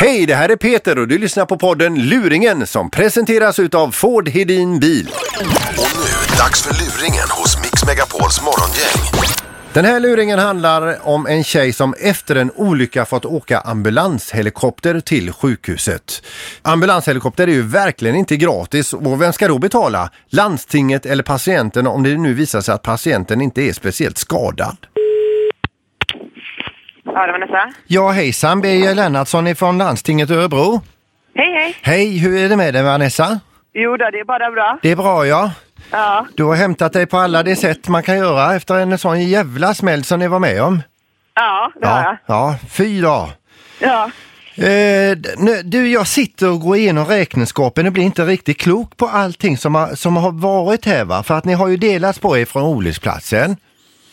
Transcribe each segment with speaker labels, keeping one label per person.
Speaker 1: Hej, det här är Peter och du lyssnar på podden Luringen som presenteras utav Ford Hedin Bil.
Speaker 2: Och nu, dags för luringen hos Mix Megapols morgongäng.
Speaker 1: Den här luringen handlar om en tjej som efter en olycka fått åka ambulanshelikopter till sjukhuset. Ambulanshelikopter är ju verkligen inte gratis och vem ska då betala? Landstinget eller patienten om det nu visar sig att patienten inte är speciellt skadad?
Speaker 3: Ja, det var Vanessa.
Speaker 1: Ja hejsan, Birger Lennartsson från landstinget i Örebro.
Speaker 3: Hej, hej.
Speaker 1: Hej, hur är det med dig Vanessa?
Speaker 3: Jo då, det är bara bra.
Speaker 1: Det är bra ja.
Speaker 3: Ja,
Speaker 1: Du har hämtat dig på alla de sätt man kan göra efter en sån jävla smäll som ni var med om.
Speaker 3: ja det har jag.
Speaker 1: ja fy då.
Speaker 3: Ja.
Speaker 1: Eh, d- nu, du, jag sitter och går igenom räkenskapen och blir inte riktigt klok på allting som har, som har varit här va? För att ni har ju delats på er från olycksplatsen.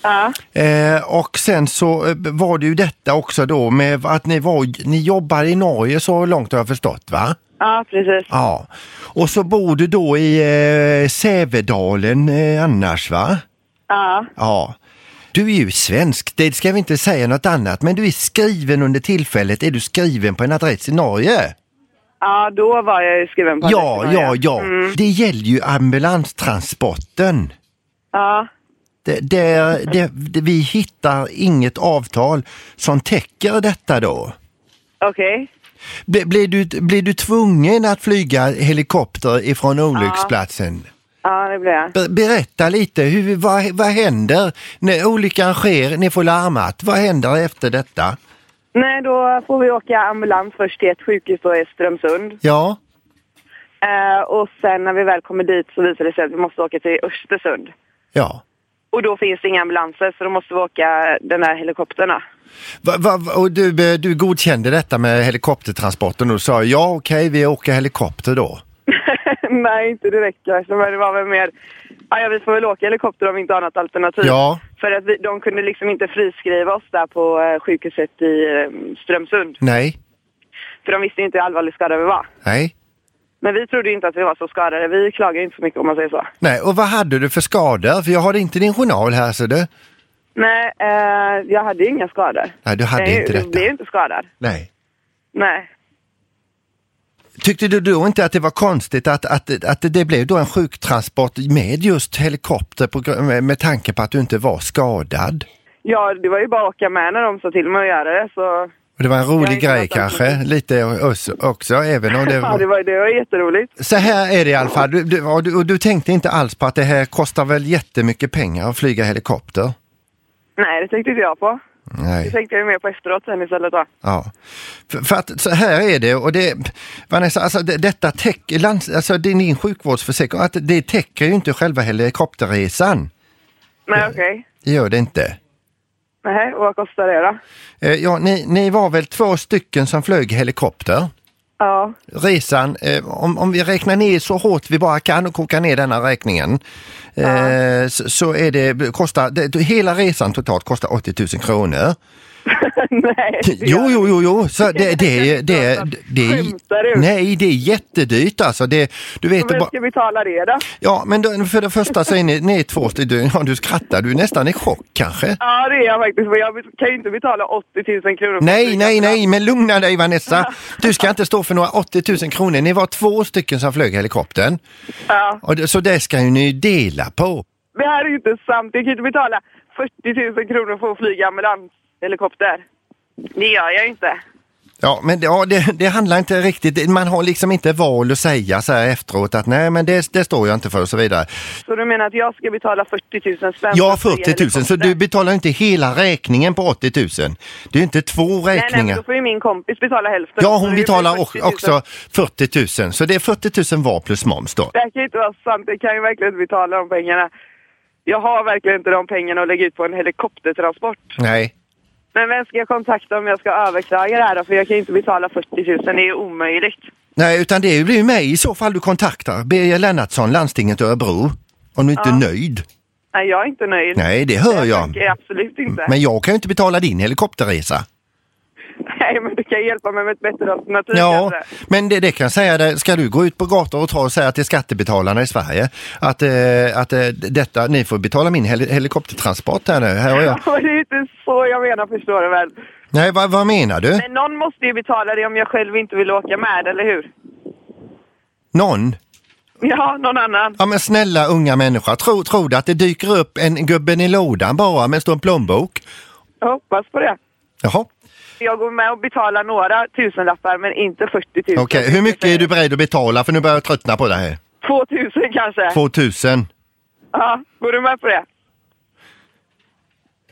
Speaker 3: Ja.
Speaker 1: Eh, och sen så eh, var det ju detta också då med att ni, var, ni jobbar i Norge så långt har jag förstått va?
Speaker 3: ja, precis.
Speaker 1: Ja. Och så bor du då i eh, Sävedalen eh, annars va?
Speaker 3: Ja,
Speaker 1: Ja. Du är ju svensk, det ska vi inte säga något annat, men du är skriven under tillfället, är du skriven på en adress i Norge?
Speaker 3: ja då var jag ju skriven på
Speaker 1: Ja,
Speaker 3: adressen,
Speaker 1: ja, ja. Det gäller ju ambulanstransporten.
Speaker 3: Ja,
Speaker 1: Det, det, det, det, vi hittar inget avtal som täcker detta då.
Speaker 3: okej.
Speaker 1: Blir, blir, du, blir du tvungen att flyga helikopter ifrån olycksplatsen?
Speaker 3: Ja, det blev jag.
Speaker 1: Ber- Berätta lite, hur, vad, vad händer när olyckan sker? Ni får larmat. Vad händer efter detta?
Speaker 3: Nej, då får vi åka ambulans först till ett sjukhus då i Strömsund.
Speaker 1: Ja,
Speaker 3: Eh, och sen när vi väl kommer dit så visar det sig att vi måste åka till Östersund.
Speaker 1: ja.
Speaker 3: Och då finns det inga ambulanser så då måste vi åka den här helikoptern. då.
Speaker 1: Va, va, va- och du, eh, du godkände detta med helikoptertransporten och sa ja okej vi åker helikopter då.
Speaker 3: Nej, inte direkt kanske, men det var väl mer... Ja, ja, vi får väl åka helikopter om vi inte har något alternativ.
Speaker 1: Ja.
Speaker 3: För att vi, de kunde liksom inte friskriva oss där på eh, sjukhuset i eh, Strömsund.
Speaker 1: Nej,
Speaker 3: För de visste ju inte hur allvarligt skadade vi var.
Speaker 1: nej,
Speaker 3: Men vi trodde ju inte att vi var så skadade. Vi klagar ju inte så mycket om man säger så.
Speaker 1: nej. Och vad hade du för skador? För jag har inte din journal här så du.
Speaker 3: Nej, eh, jag hade ju inga skador.
Speaker 1: Nej, du hade
Speaker 3: Nej,
Speaker 1: inte
Speaker 3: Jag
Speaker 1: detta.
Speaker 3: blev ju inte skadad.
Speaker 1: Nej.
Speaker 3: Nej.
Speaker 1: Tyckte du då inte att det var konstigt att, att, att det blev då en sjuktransport med just helikopter på, gr- med, med tanke på att du inte var skadad?
Speaker 3: Ja, det var ju bara att åka med när de sa till mig att göra det. Så...
Speaker 1: Och det var en
Speaker 3: Jag är
Speaker 1: rolig
Speaker 3: inte
Speaker 1: grej
Speaker 3: något
Speaker 1: kanske,
Speaker 3: alternativ.
Speaker 1: lite också, också även om det
Speaker 3: Ja, det var, det var jätteroligt.
Speaker 1: Så här är det i alla fall, du, du, och du, och du tänkte inte alls på att det här kostar väl jättemycket pengar att flyga helikopter?
Speaker 3: Nej, det tänkte inte jag på. Det
Speaker 1: Nej.
Speaker 3: tänkte jag ju mer på efteråt sen istället då.
Speaker 1: Ja. För, för att så här är det, och det, Vanessa, alltså det, detta täcker, lands- alltså det är din sjukvårdsförsäkring, att det täcker ju inte själva helikopterresan.
Speaker 3: Nej, okej.
Speaker 1: Det gör det inte.
Speaker 3: Nej, och vad kostar det då?
Speaker 1: Eh, ja, ni, ni var väl två stycken som flög helikopter?
Speaker 3: Ja,
Speaker 1: resan, eh, om, om vi räknar ner så hårt vi bara kan och kokar ner denna räkningen, eh, så, så är det, kostar, det, hela resan totalt kostar 80 000 kronor.
Speaker 3: nej. det gör
Speaker 1: Jo, jo, jo, jo, så det, det, det, det, det,
Speaker 3: Skämtar du?
Speaker 1: nej, det är jättedyrt alltså. Det, du vet,
Speaker 3: Vem
Speaker 1: bara-
Speaker 3: ska betala det då?
Speaker 1: ja, men då, för det första så är ni, ni är två stycken, ja, du skrattar, du är nästan i chock kanske.
Speaker 3: Ja, det är jag faktiskt. För jag kan ju inte betala 80 000 kronor. för
Speaker 1: Nej,
Speaker 3: en
Speaker 1: nej,
Speaker 3: flygplats.
Speaker 1: nej, men lugna dig Vanessa. Du ska inte stå för några 80 000 kronor. Ni var två stycken som flög helikoptern.
Speaker 3: Ja,
Speaker 1: Och det, så det ska ju ni dela på.
Speaker 3: det här är ju inte sant. Jag kan ju inte betala 40 000 kronor för att flyga ambulanshelikopter. Det gör jag ju inte.
Speaker 1: Ja, men det, ja, det, det handlar inte riktigt, det- man har liksom inte val att säga så här efteråt att nej men det, det står jag inte för och så vidare.
Speaker 3: Så du menar att jag ska betala 40 000 spänn?
Speaker 1: Jag har
Speaker 3: för att flyga
Speaker 1: 40 000 så
Speaker 3: helikopter?
Speaker 1: du betalar inte hela räkningen på 80 000. Det är ju inte två
Speaker 3: Nej, nej, men
Speaker 1: räkningar.
Speaker 3: då får ju min kompis betala hälften.
Speaker 1: Ja,
Speaker 3: Så
Speaker 1: hon
Speaker 3: det blir
Speaker 1: betalar
Speaker 3: 40
Speaker 1: o-
Speaker 3: 000.
Speaker 1: också 40 000 så det är 40 000 var plus moms då.
Speaker 3: Det här kan ju inte vara sant. Jag kan ju verkligen inte betala de pengarna. Jag har verkligen inte de pengarna att lägga ut på en helikoptertransport.
Speaker 1: Nej,
Speaker 3: Men vem ska jag kontakta om jag ska överklaga det här då? För jag kan ju inte betala 40 000, det är ju omöjligt.
Speaker 1: nej utan det blir ju mig i så fall du kontaktar, Birger Lennartsson, landstinget Örebro. Om du inte är nöjd.
Speaker 3: Nej, jag är inte nöjd.
Speaker 1: Nej, det hör
Speaker 3: jag.
Speaker 1: jag.
Speaker 3: tänker absolut inte.
Speaker 1: Men jag kan ju inte betala din helikopterresa.
Speaker 3: Nej, men du kan hjälpa mig med ett bättre alternativ
Speaker 1: Ja,
Speaker 3: kanske.
Speaker 1: men det, det kan jag säga, det, ska du gå ut på gator och ta och säga till skattebetalarna i Sverige att, eh, att eh, detta, ni får betala min hel helikoptertransport här nu. Här har jag.
Speaker 3: Ja, men det är inte så jag menar, förstår du väl?
Speaker 1: Nej, vad, vad menar du?
Speaker 3: Men någon måste ju betala det om jag själv inte vill åka med, eller hur?
Speaker 1: Någon?
Speaker 3: Ja, någon annan.
Speaker 1: Ja men snälla unga människa, tror tro du att det dyker upp en gubben i lådan bara med en stor plånbok?
Speaker 3: Jag hoppas på det.
Speaker 1: Jaha,
Speaker 3: Jag går med och betalar några tusenlappar, men inte 40 000.
Speaker 1: okej. Hur mycket är du beredd att betala? För nu börjar jag tröttna på det här.
Speaker 3: 2 000 kanske.
Speaker 1: 2000.
Speaker 3: Ja, går du med på det?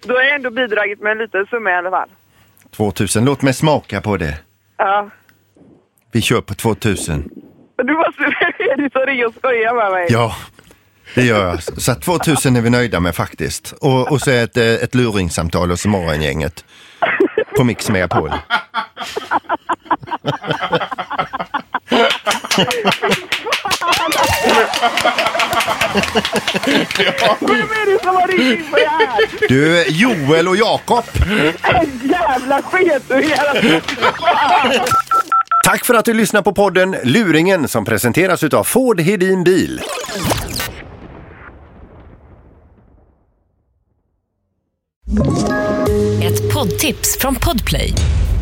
Speaker 3: Då har jag ändå bidragit med en liten summa i alla fall.
Speaker 1: 2000, låt mig smaka på det.
Speaker 3: Ja.
Speaker 1: Vi kör på 2000.
Speaker 3: Du måste är du så ring och skoja med mig.
Speaker 1: Ja, det gör jag. alltså. Så att 2000 är vi nöjda med faktiskt. Och, och så ett, eh, ett luringssamtal hos morgongänget. På Mix Megapol.
Speaker 3: Vem är det som har ringt in på det här?
Speaker 1: Du, Joel och Jakob.
Speaker 3: En jävla sketunge!
Speaker 1: Tack för att du lyssnar på podden Luringen som presenteras utav Ford Hedin Bil.
Speaker 4: Ett poddtips från Podplay.